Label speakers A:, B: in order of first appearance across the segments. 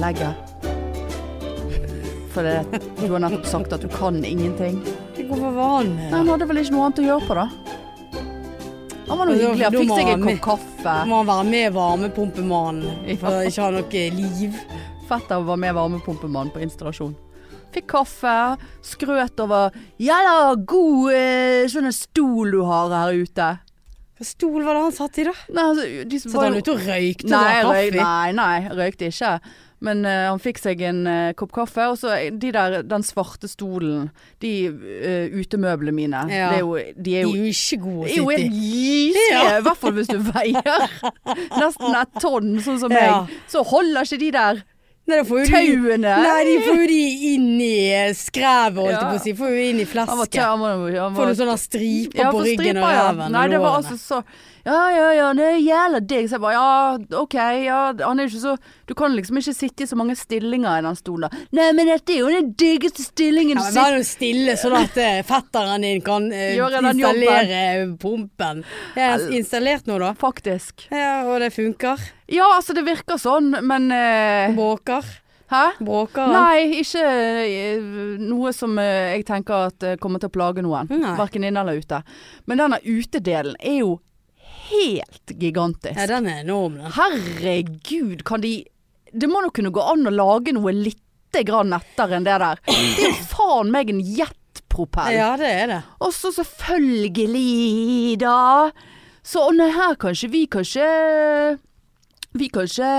A: legget. For det, du har nettopp sagt at du kan ingenting.
B: Jeg går for vanlig.
A: Nei, han hadde vel ikke noe annet å gjøre på, da. Han var nå
B: Da-
A: hyggelig. Han
B: da
A: fikk
B: må
A: seg
B: han
A: en
B: med.
A: kopp kaffe.
B: Må han være med varmepumpemannen for å ikke ha noe liv?
A: Fetter var med varmepumpemann på installasjon. Fikk kaffe, skrøt over 'Ja da, god eh, sånn en stol du har her ute'.
B: Hva stol var det han satt i, da?
A: Nei, altså, de som
B: Satt
A: var
B: han
A: jo-
B: ute og røykte og
A: Nei,
B: drakk
A: røy,
B: kaffe?
A: nei,
B: i?
A: nei, røykte ikke. Men eh, han fikk seg en eh, kopp kaffe, og så de der, den svarte stolen, de eh, utemøblene mine,
B: Ja.
A: det er jo, de
B: De
A: er
B: er
A: jo
B: jo ikke gode å
A: Det er jo
B: sitte
A: en
B: i.
A: gyse,
B: Ja.
A: i hvert fall hvis du veier nesten et tonn, sånn som
B: Ja.
A: meg. Så holder ikke de der
B: Nei, da får jo de-
A: tauene.
B: Nei, de får jo de inn i skrevet, holdt jeg
A: Ja.
B: på å si. Får jo inn i
A: Han var
B: flesket.
A: tau, han var- han
B: Får
A: var-
B: du sånne striper
A: Ja,
B: på
A: for
B: ryggen og
A: stripa, ja.
B: ræven?
A: Nei,
B: og
A: det var
B: lårene.
A: altså så Ja, ja, ja, det gjelder deg. Så jeg bare ja, OK, ja. Han er jo ikke så Du kan liksom ikke sitte i så mange stillinger i den stolen. Nei, men dette er jo den diggeste stillingen du
B: Ja, men
A: sitter
B: Vær nå stille, sånn at eh, fetteren din kan eh,
A: Gjøre den
B: installere pumpen. Jeg har installert nå, da.
A: Faktisk.
B: Ja, og det funker.
A: Ja, altså det virker sånn, men eh,
B: Bråker.
A: Hæ?
B: Bråker han?
A: Nei, ikke eh, noe som eh, jeg tenker at eh, kommer til å plage noen.
B: Nei.
A: Verken inne eller ute. Men denne utedelen er jo helt gigantisk.
B: Ja, den er enorm, den.
A: Herregud, kan de Det må nå kunne gå an å lage noe lite grann nettere enn det der. Det er jo faen meg en jetpropell.
B: Ja, det er det.
A: Og så selvfølgelig, da. Så og nei, her kanskje vi kanskje Vi kanskje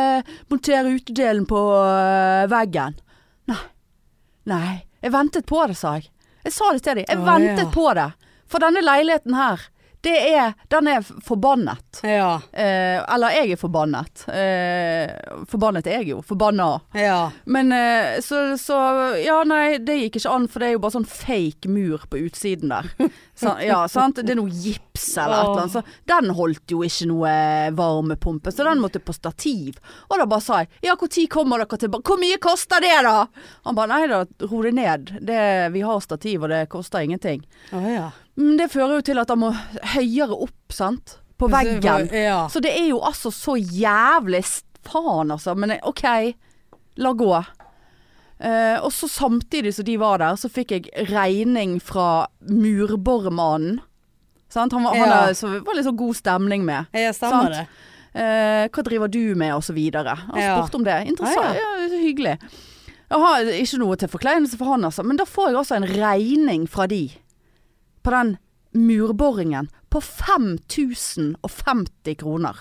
A: monterer utedelen på øh, veggen. Nei. Nei. Jeg ventet på det, sa jeg. Jeg sa det til dem. Jeg
B: Å,
A: ventet
B: ja.
A: på det. For denne leiligheten her, det er Den er forbannet.
B: Ja.
A: Eh, eller jeg er forbannet. Eh, forbannet er jeg jo. Forbanna.
B: Ja.
A: Men eh, så, så Ja, nei, det gikk ikke an, for det er jo bare sånn fake mur på utsiden der. Så, ja, sant? Det er noe gips eller et eller annet. Så den holdt jo ikke noe varmepumpe, så den måtte på stativ. Og da bare sa jeg ja, når kommer dere tilbake? Hvor mye koster det, da? Han bare nei da, ro det ned. Det, vi har stativ, og det koster ingenting.
B: Å ja.
A: Men det fører jo til at han må høyere opp, sant? På veggen.
B: Ja.
A: Så det er jo altså så jævlig s- Faen altså, men eh, ok La gå Eh, Og så samtidig som de var der Så fikk jeg regning fra murbormannen Sant? Han, var, han
B: Ja.
A: er- så, var litt sånn god stemning med
B: Ja, stemmer
A: Sant.
B: det.
A: Eh, Hva driver du med og så videre Han
B: Ja.
A: spurte om det, interessant,
B: Ah, ja.
A: ja, så hyggelig Jeg har ikke noe til forkleinelse for han altså Men da får jeg altså en regning fra de På den murboringen På 5050 kroner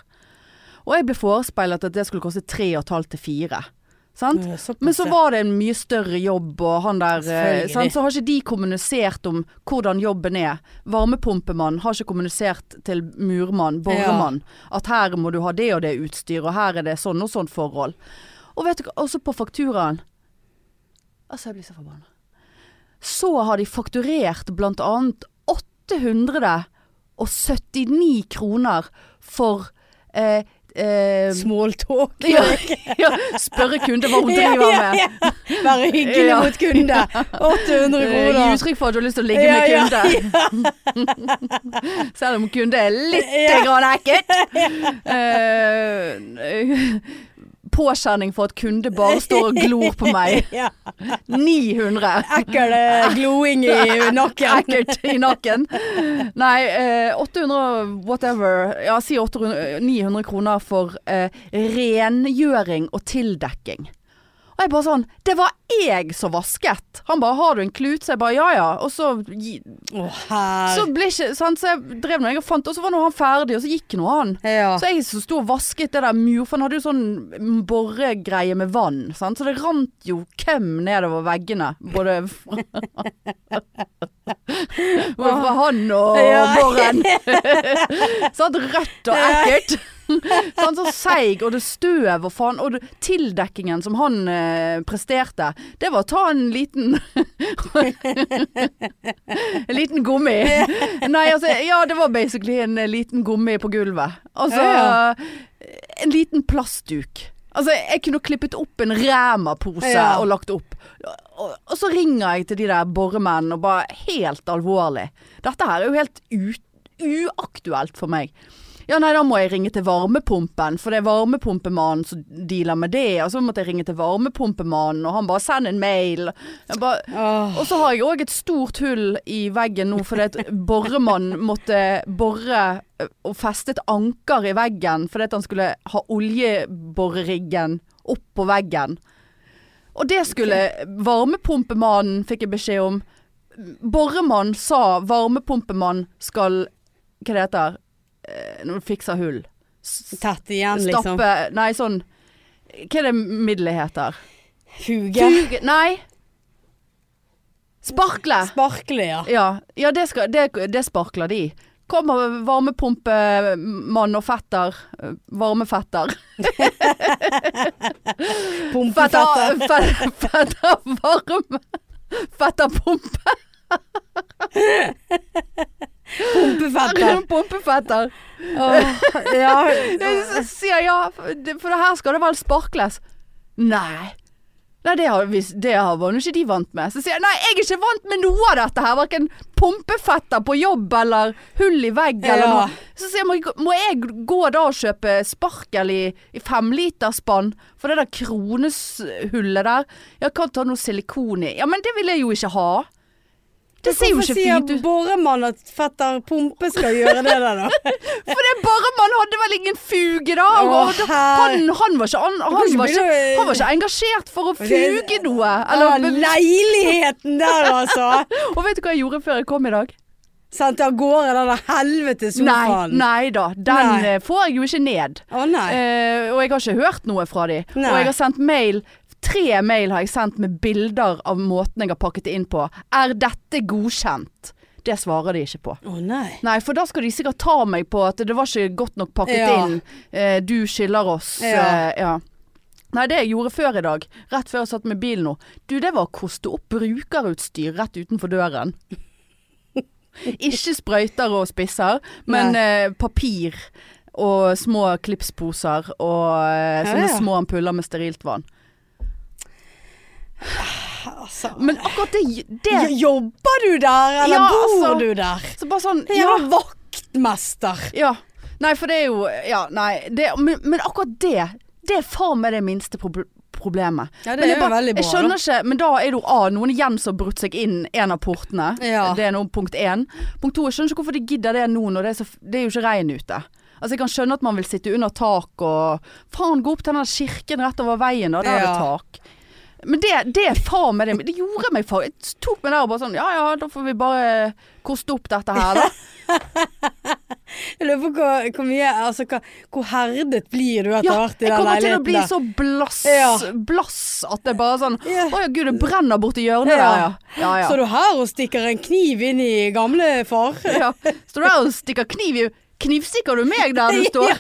A: Og jeg ble forespeilet at det skulle koste 3,5 til 4 Sant?
B: Ja, såpass,
A: Men så
B: ja.
A: var det en mye større jobb, og han der eh,
B: Selvfølgelig.
A: sant? Så har ikke de kommunisert om hvordan jobben er. Varmepumpemannen har ikke kommunisert til murmann, boremann, at her må du ha det og det utstyr, og her er det sånn og sånn forhold. Og vet du hva, også på fakturaen Altså, jeg blir så forbanna. Så har de fakturert blant annet 879 kroner for eh, eh,
B: Smalltalk.
A: ja, ja, spørre kunde hva hun
B: Ja,
A: driver
B: ja,
A: med.
B: ja. Være hyggelig
A: Ja.
B: mot kunde. 800
A: Eh,
B: kroner.
A: Gi uttrykk for at du har lyst til å ligge
B: Ja,
A: med
B: ja,
A: kunde. Selv om kunde er litt
B: Ja.
A: grann ekkelt. Eh, påkjenning for at kunde bare står og glor på meg.
B: Ja.
A: 900.
B: Ekkel eh, gloing i nakken.
A: Ekkelt i nakken. Nei, eh, 800 whatever. Ja, si 800, 900 kroner for eh, rengjøring og tildekking. Og jeg bare sånn Det var jeg som vasket! Han bare 'Har du en klut?' Så jeg bare 'Ja ja'. Og så gi-
B: Å,
A: Så
B: herre.
A: ble ikke sant? Så jeg drev nå jeg og fant, og så var nå han ferdig, og så gikk nå han.
B: Ja.
A: Så jeg som sto og vasket det der mur, for han hadde jo sånn boregreie med vann, sant? så det rant jo køm nedover veggene. Både fra, både fra han og
B: Ja.
A: boren. sant? Rødt og ekkelt. Sånn så seig, og det støv og faen. Og det, tildekkingen som han eh, presterte, det var å ta en liten En liten gummi. Nei, altså Ja, det var basically en eh, liten gummi på gulvet. Altså
B: Ja,
A: En liten plastduk. Altså, jeg kunne klippet opp en Rema-pose
B: Ja.
A: og lagt opp. Og, og så ringer jeg til de der boremennene og bare helt alvorlig. Dette her er jo helt u uaktuelt for meg. Ja, nei, da må jeg ringe til varmepumpen, for det er varmepumpemannen som dealer med det. Og så måtte jeg ringe til varmepumpemannen, og han bare 'send en mail'. Jeg bare,
B: Åh,
A: og så har jeg òg et stort hull i veggen nå fordi at boremannen måtte bore ø, og feste et anker i veggen fordi at han skulle ha oljeboreriggen opp på veggen. Og det skulle varmepumpemannen, fikk jeg beskjed om. Boremann sa varmepumpemann skal Hva det heter eh, Når du fikser hull. S-
B: Tett igjen, liksom.
A: Stappe Nei, sånn Hva er det middelet heter?
B: Fuge.
A: Fuge Nei. Sparkle.
B: Sparkle, ja.
A: Ja, ja det, skal, det, det sparkler de. Kommer varmepumpemann og fetter. eh, Varmefetter.
B: Pumpefette.
A: Fetter, fetter, fetter varme. Fetterpumpe.
B: Pumpefette.
A: Pumpefetter.
B: Åh, ja.
A: Jeg s- sier ja, for det- for det her skal det vel sparkles. Nei. Nei, det har, vi- det har var nå ikke de vant med. Så sier jeg nei, jeg er ikke vant med noe av dette her. Verken pumpefetter på jobb eller hull i vegg eller
B: Ja.
A: noe. Så sier jeg, må, jeg gå- må jeg gå da og kjøpe sparkel i, i femliterspann for det der kroneshullet der? Jeg kan ta noe silikon i. Ja, men det vil jeg jo ikke ha. Det ser jo ikke fint ut.
B: Hvorfor sier boremann at fetter Pumpe skal gjøre det der, da?
A: For det er bare man hadde vel ingen fuge da.
B: Å,
A: og da han, han, var ikke, an- han,
B: kan ikke
A: var ikke,
B: begynne å-
A: han var ikke engasjert for å fuge noe.
B: Eller
A: Eller,
B: leiligheten der, altså!
A: og vet du hva jeg gjorde før jeg kom i dag?
B: Sendt av gårde den der helvetes
A: Nei,
B: sofaen.
A: nei da. Den
B: Nei.
A: eh, får jeg jo ikke ned.
B: Å nei.
A: Eh, og jeg har ikke hørt noe fra de.
B: Nei.
A: Og jeg har sendt mail. Tre mail har jeg sendt med bilder av måten jeg har pakket det inn på. Er dette godkjent? Det svarer de ikke på.
B: Å nei.
A: Nei, for da skal de sikkert ta meg på at det var ikke godt nok pakket
B: Ja.
A: inn. Eh, du skylder oss.
B: Ja.
A: Eh, ja. Nei, det jeg gjorde før i dag, rett før jeg satt med bilen nå, du, det var å koste opp brukerutstyr rett utenfor døren. ikke sprøyter og spisser, men eh, papir og små klipsposer og eh,
B: Ja,
A: sånne
B: ja.
A: små ampuller med sterilt vann.
B: Altså.
A: Men akkurat det, det
B: Jo- Jobber du der, eller
A: Ja,
B: bor
A: altså.
B: du der?
A: Så bare sånn
B: En jævla vaktmester.
A: Ja. Nei, for det er jo Ja, nei. Det, men, men akkurat det, det er faen meg det minste proble- problemet.
B: Ja, det
A: men
B: er
A: jeg
B: jo veldig bra,
A: Jeg skjønner ikke, men da er det jo A, noen igjen som har brutt seg inn en av portene.
B: Ja.
A: Det er nå punkt én. Punkt to, jeg skjønner ikke hvorfor de gidder det nå når det er, så, f- det er jo ikke regn ute. Altså Jeg kan skjønne at man vil sitte under tak og Faen, gå opp til den der kirken rett over veien, da. Der er det
B: Ja.
A: tak. Men det, det er faen meg det. Det gjorde meg faen Jeg tok meg der og bare sånn Ja ja, da får vi bare koste opp dette her, da.
B: Jeg lurer på hvor, hvor mye Altså hva, hvor herdet blir du etter
A: Ja,
B: hvert i
A: jeg
B: den
A: kommer til å
B: leiligheten
A: bli
B: der?
A: så blass,
B: Ja.
A: blass at det bare er sånn Å
B: Ja.
A: ja, gud, det brenner borti hjørnet
B: Ja.
A: der, ja. ja, ja.
B: Står du her og stikker en kniv inn i gamle far?
A: ja. Står du her og stikker kniv i Knivstikker du meg der du står?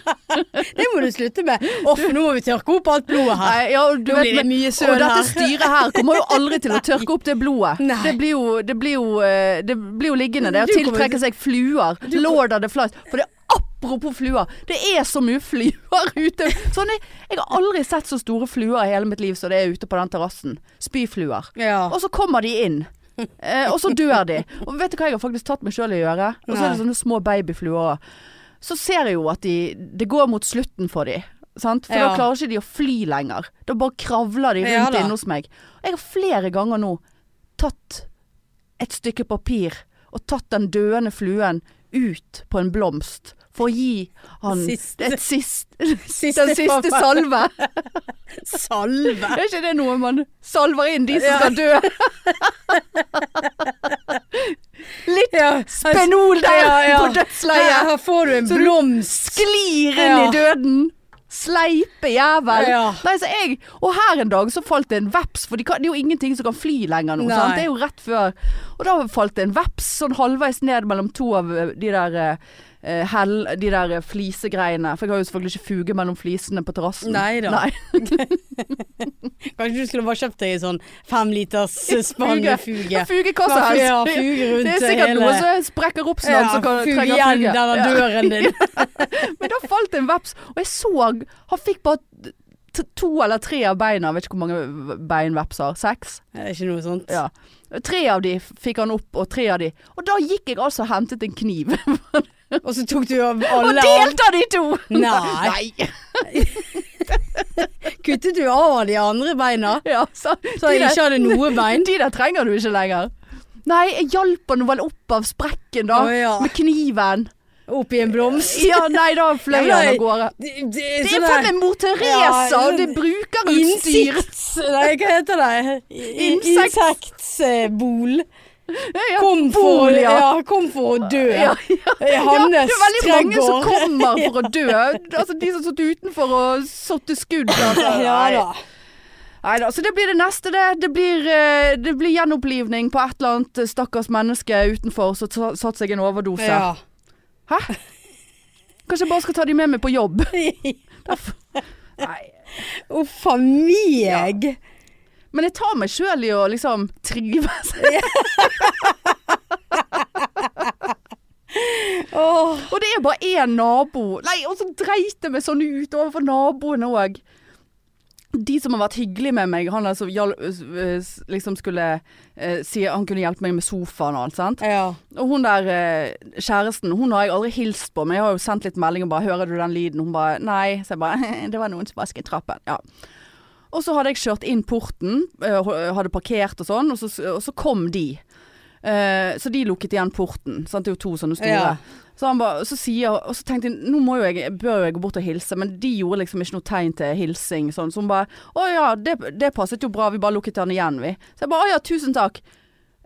B: Det må du slutte med. Off, nå må vi tørke opp alt blodet her.
A: Nei, ja, og du
B: Nå blir det
A: men-
B: mye søl
A: og dette
B: her.
A: styret her kommer jo aldri til å tørke opp det blodet.
B: Nei.
A: Det blir jo, det blir jo, eh, det blir jo liggende der.
B: Du kommer-
A: Tiltrekke seg fluer. Lord of the Flies. For det Apropos fluer, det er så mye fluer ute. Sånn, jeg, jeg har aldri sett så store fluer i hele mitt liv som det er ute på den terrassen. Spyfluer.
B: Ja.
A: Og så kommer de inn. Eh, og så dør de. Og vet du hva jeg har faktisk tatt meg sjøl i å gjøre? Og så er det
B: Nei.
A: sånne små babyfluer. Så ser jeg jo at de, det går mot slutten for de. Sant? For
B: Ja.
A: da klarer ikke de å fly lenger. Da bare kravler de
B: Ja
A: rundt
B: da.
A: inne hos meg. Og jeg har flere ganger nå tatt et stykke papir og tatt den døende fluen ut på en blomst. For å gi han
B: Siste-
A: et sist,
B: Siste
A: den siste
B: pappa.
A: salve.
B: Salve.
A: Er ikke det noe man salver inn de som
B: Ja.
A: skal dø? Litt
B: Ja.
A: Spenol der
B: Ja, ja.
A: på dødsleiet.
B: Her får du en blomst.
A: Sklir inn
B: Ja.
A: i døden. Sleipe jævel.
B: Ja.
A: Nei, så jeg, og her en dag så falt det en veps, for de kan, det er jo ingenting som kan fly lenger nå.
B: Nei.
A: Sant? Det er jo rett før. Og da falt det en veps sånn halvveis ned mellom to av eh, de der eh, hell, de der eh, flisegreiene. For jeg har jo selvfølgelig ikke fuge mellom flisene på terrassen.
B: Neida.
A: Nei.
B: Kanskje du skulle bare kjøpt deg en sånn femliters spann med fuge.
A: Fugekasse her.
B: Ja, fuge rundt
A: Det er sikkert
B: hele-
A: noe som sprekker opp snart, som kan
B: fuge
A: trenger
B: igjen
A: fuge.
B: denne
A: Ja.
B: døren din.
A: Men da falt det en veps, og jeg så Han fikk bare t- to eller tre av beina, vet ikke hvor mange bein veps har. Seks?
B: Det er ikke noe sånt.
A: Ja. Tre av de fikk han opp, og tre av de Og da gikk jeg altså og hentet en kniv.
B: Og så tok du av
A: Og
B: alle
A: delte de to!
B: Nei. Kuttet du av de andre beina?
A: Ja, så,
B: Så jeg
A: de, der,
B: ikke hadde noe bein?
A: de der trenger du ikke lenger. Nei, jeg hjalp han vel opp av sprekken da,
B: Å, ja.
A: med kniven.
B: Oppi en blomst?
A: Ja, nei, da fløy
B: Ja,
A: han av
B: men-
A: gårde.
B: Det, sånn
A: Det er faen meg mor Teresa,
B: Ja,
A: og det
B: sånn
A: er brukerutstyr.
B: Innsikt Nei, hva heter det? I-
A: Insekt.
B: Insektsbol.
A: Ja,
B: Kom for,
A: bol, ja.
B: ja, kom for å dø.
A: Ja,
B: Eh,
A: Ja,
B: Hannes
A: det er veldig mange som
B: Tregård.
A: kommer for å dø. Altså, de som satt utenfor og satte skudd. Altså.
B: Ja da.
A: Nei da, så det blir det neste, det. Det blir, eh, det blir gjenopplivning på et eller annet stakkars menneske utenfor som sa- satt seg en overdose.
B: Ja.
A: Kanskje jeg bare skal ta de med meg på jobb. Nei.
B: Uff a meg.
A: Men jeg tar meg sjøl i å liksom trives.
B: Åh.
A: Og det er bare én nabo. Nei, og så dreit jeg meg sånn ut overfor naboene òg. De som har vært hyggelige med meg, han der som hjal- s- s- liksom skulle eh, si Han kunne hjelpe meg med sofaen og alt, sant.
B: Ja.
A: Og hun der eh, kjæresten, hun har jeg aldri hilst på, men jeg har jo sendt litt melding og bare 'Hører du den lyden?' Hun bare 'Nei'. Så jeg bare 'Det var noen som vasket trappen'. Ja. Og så hadde jeg kjørt inn porten, eh, ho- hadde parkert og sånn, og så, og så kom de. Eh, så de lukket igjen porten. Sant? Det er jo to sånne store.
B: Ja.
A: Så han bare, så sier, og så tenkte jeg nå må jo jeg, bør jo jeg gå bort og hilse, men de gjorde liksom ikke noe tegn til hilsing. Sånn. Så hun bare Å ja, det, det passet jo bra, vi bare lukket den igjen, vi. Så jeg bare Å ja, tusen takk.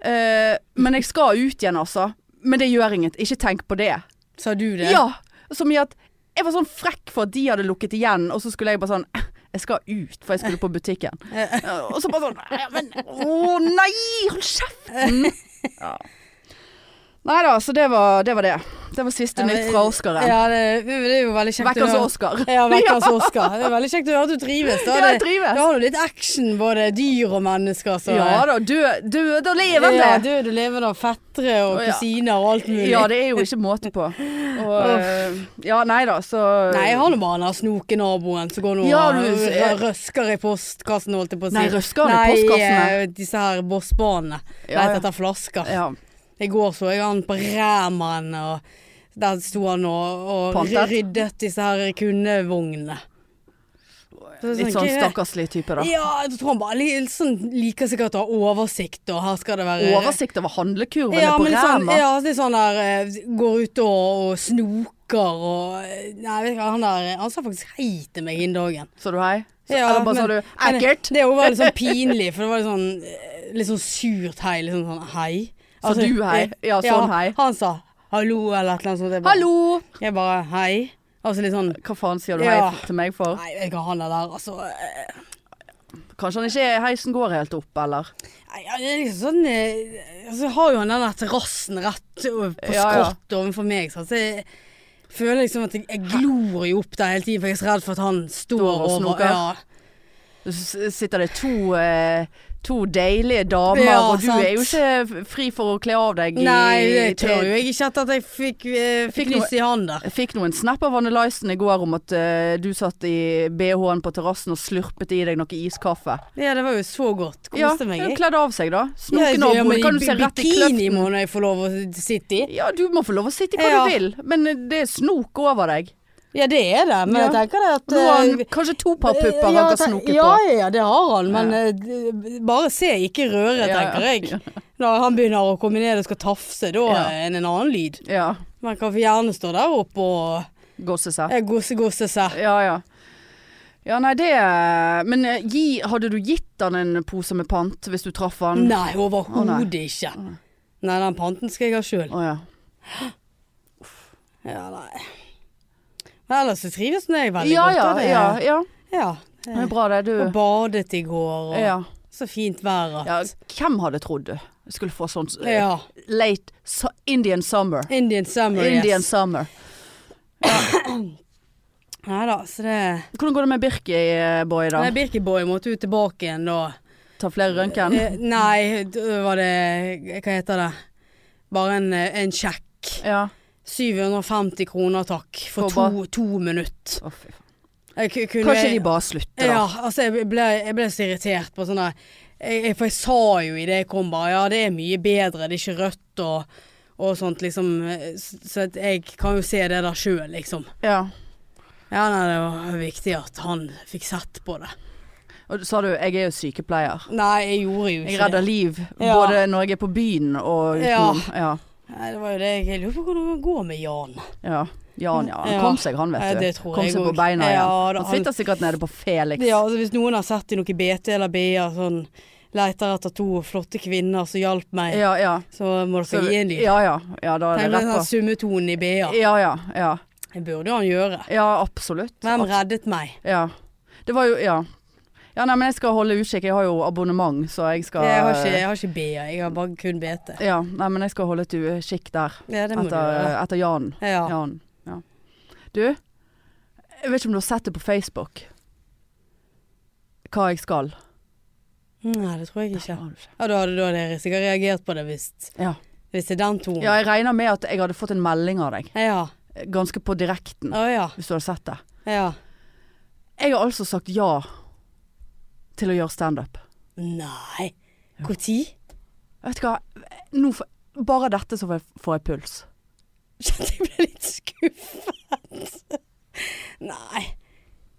A: Eh, men jeg skal ut igjen, altså. Men det gjør inget. Ikke tenk på det.
B: Sa du det?
A: Ja. Som i at jeg var sånn frekk for at de hadde lukket igjen, og så skulle jeg bare sånn «Eh, Jeg skal ut, for jeg skulle på butikken. Eh, og så bare sånn «Eh, Men å nei! Hold kjeften! Ja. Nei da, så det var det. Var det. det var siste
B: Ja, men-
A: nytt fra Oscar.
B: Ja, det, det er jo veldig kjekt
A: Vekkers
B: høre.
A: Oscar.
B: Ja, vekkers Oscar. Det er veldig kjekt å høre at du trives. Da,
A: Ja, jeg
B: Det-
A: trives.
B: da har du litt action, både dyr og mennesker. Så.
A: Ja da, død, død og
B: Ja,
A: levende!
B: død og levende og fettere og
A: Å, ja.
B: kusiner og alt mulig.
A: Ja, det er jo ikke måte på. Og, eh, ja, nei da, så
B: Nei, jeg har nå bare den snokenaboen som går nå
A: Ja,
B: og
A: du-
B: rø- røsker i postkassen, holdt jeg på å si.
A: Nei, røsker han i postkassene?
B: Nei, eh, disse her bossbanene.
A: Ja,
B: Leter
A: ja.
B: etter flasker.
A: Ja.
B: I går så jeg han på Ræmeren, og der sto han og, og
A: Pantet?
B: ryddet disse her kundevognene. Så det er
A: Litt sånn
B: «Hva er det?»
A: stakkarslig type, da.
B: Ja, jeg tror han bare li- sånn, liker sikkert å ha oversikt, og her skal det være
A: Oversikt over handlekurvene
B: ja,
A: på
B: men
A: Rema.
B: sånn, ja, det er sånn der eh, Går ut og, og snoker og eh, Nei, vet ikke, hva, han der eh, Han sa faktisk hei til meg innen dagen.
A: Sa du hei? Så,
B: Ja,
A: eller bare
B: men-
A: sa du
B: men
A: ekkelt?
B: Det var veldig sånn pinlig, for det var litt sånn, eh, litt sånn surt hei. Litt sånn, sånn hei. Altså, eh,
A: Sa du hei? Ja, sånn hei.
B: Han sa hallo eller et eller annet sånt. Jeg bare,
A: Hallo!
B: Jeg bare hei. Altså litt sånn
A: Hva faen sier du
B: Ja.
A: hei til meg for?
B: Nei, jeg kan han er der, altså. eh,
A: Kanskje han ikke heisen går helt opp, eller?
B: Nei, ja, det er liksom sånn eh, altså, Jeg har jo den der terrassen rett over- på
A: Ja, ja.
B: skrått overfor meg. sånn, Så jeg føler liksom at jeg, jeg glor jo opp der hele tiden, for jeg er så redd for at han står,
A: Står og
B: over.
A: snoker.
B: Ja.
A: S sitter det to, eh, to deilige damer,
B: Ja,
A: og du
B: sant.
A: er jo ikke fri for å kle av deg i
B: Nei, det
A: i-
B: tør jo jeg ikke etter at jeg fikk, eh,
A: Fikk
B: fikk lyst i han der.
A: Jeg fikk nå en snap av Anne Lysen i går om at eh, du satt i BH-en på terrassen og slurpet i deg noe iskaffe.
B: Ja, det var jo så godt.
A: Ja,
B: Koste meg.
A: hun
B: jeg.
A: kledde av seg da.
B: Ja,
A: Snoken over
B: ja, men
A: hodet. Kan du
B: i
A: se
B: bi-
A: rett i kløften?
B: Bikini må nå jeg få lov å sitte i.
A: Ja, du må få lov å sitte i hva
B: Ja.
A: du vil, men eh, det er snok over deg.
B: Ja, det er det, men
A: Ja.
B: jeg tenker det at
A: Nå har han
B: eh,
A: kanskje to par pupper
B: ja,
A: han kan
B: te-
A: snoke
B: ja,
A: på.
B: Ja, ja, det har han, men eh, bare se, ikke
A: Ja,
B: røre, tenker
A: ja.
B: jeg. Når han begynner å komme ned og skal tafse, da
A: Ja.
B: er det en annen lyd.
A: Ja.
B: Man kan gjerne stå der oppe og
A: Gosse seg.
B: eh, gosse-gosse seg.
A: Ja, ja. Ja, nei, det Men eh, gi, hadde du gitt han en pose med pant hvis du traff han?
B: Nei,
A: Å, nei.
B: overhodet ikke. Nei, den panten skal jeg ha sjøl.
A: Å ja.
B: Ja, nei. Men ellers så trives nå jeg veldig
A: Ja, ja,
B: godt. da, det-
A: ja, ja.
B: ja.
A: Det er bra det, du.
B: Og badet i går, og
A: Ja.
B: så fint vær
A: ja.
B: at
A: Hvem hadde trodd du skulle få sånn eh,
B: Ja.
A: late su Indian summer?
B: Indian summer,
A: Indian
B: yes.
A: summer.
B: Nei da, så det
A: Hvordan går det med Birki, eh, boy, da?
B: Nei, Birkeboy måtte jo tilbake igjen da.
A: Ta flere røntgen?
B: Eh, nei, da var det Hva heter det? Bare en, eh, en sjekk.
A: Ja.
B: 750 kroner takk for
A: For
B: to, to minutter.
A: Å, fy faen.
B: Jeg ku- kunne-
A: Kanskje de bare slutter, da.
B: Ja, altså jeg ble, jeg ble så irritert på sånne jeg, jeg, For jeg sa jo i det jeg kom bare Ja, det er mye bedre, det er ikke rødt og og sånt, liksom. eh, s- Så at jeg kan jo se det der sjøl, liksom.
A: Ja.
B: Ja, nei, det var viktig at han fikk sett på det.
A: Og sa du, jeg er jo sykepleier.
B: Nei, jeg gjorde jo ikke
A: Jeg redder liv,
B: Ja.
A: både når jeg er på byen og utenom. Ja.
B: det. Nei, det var jo det jeg jeg lurer på hvordan det går med Jan.
A: Ja. Jan, ja. Han
B: Ja.
A: kom seg, han,
B: Ja,
A: vet du.
B: det tror
A: kom
B: jeg
A: seg på
B: også.
A: beina
B: Ja,
A: igjen.
B: da-
A: Han sitter sikkert nede på Felix.
B: Ja, altså hvis noen har sett i noe BT eller BA sånn Leter etter to flotte kvinner som hjalp meg,
A: ja. ja.
B: så må
A: Så-
B: dere gi en lyd.
A: ja, ja. ja da er
B: Tenk
A: det
B: med
A: rett
B: den
A: på.
B: summetonen i BA.
A: Ja, ja. Ja,
B: Det burde han gjøre.
A: ja absolutt.
B: Hvem reddet meg?
A: Ja. Det var jo Ja. Ja, nei, men jeg skal holde utkikk. Jeg har jo abonnement, så jeg skal
B: Jeg har ikke, jeg har ikke BA, jeg har bare kun BT.
A: Ja, nei, men jeg skal holde et utkikk der.
B: Ja, det må du
A: Etter,
B: gjøre.
A: etter Jan.
B: Ja.
A: Jan. Ja. Du, jeg vet ikke om du har sett det på Facebook. Hva jeg skal.
B: Nei, det tror jeg ikke.
A: Har du ikke?
B: Ja, da hadde da hadde jeg sikkert reagert på det hvis,
A: Ja.
B: hvis det er den tonen.
A: ja, jeg regner med at jeg hadde fått en melding av deg.
B: ja.
A: Ganske på direkten,
B: Å ja.
A: hvis du hadde sett det.
B: ja.
A: Jeg har altså sagt ja til å gjøre standup.
B: Nei. Hvor tid?
A: Vet du hva, Nå får- bare av dette så får jeg, får jeg puls.
B: Kjente jeg ble litt skuffet. Nei.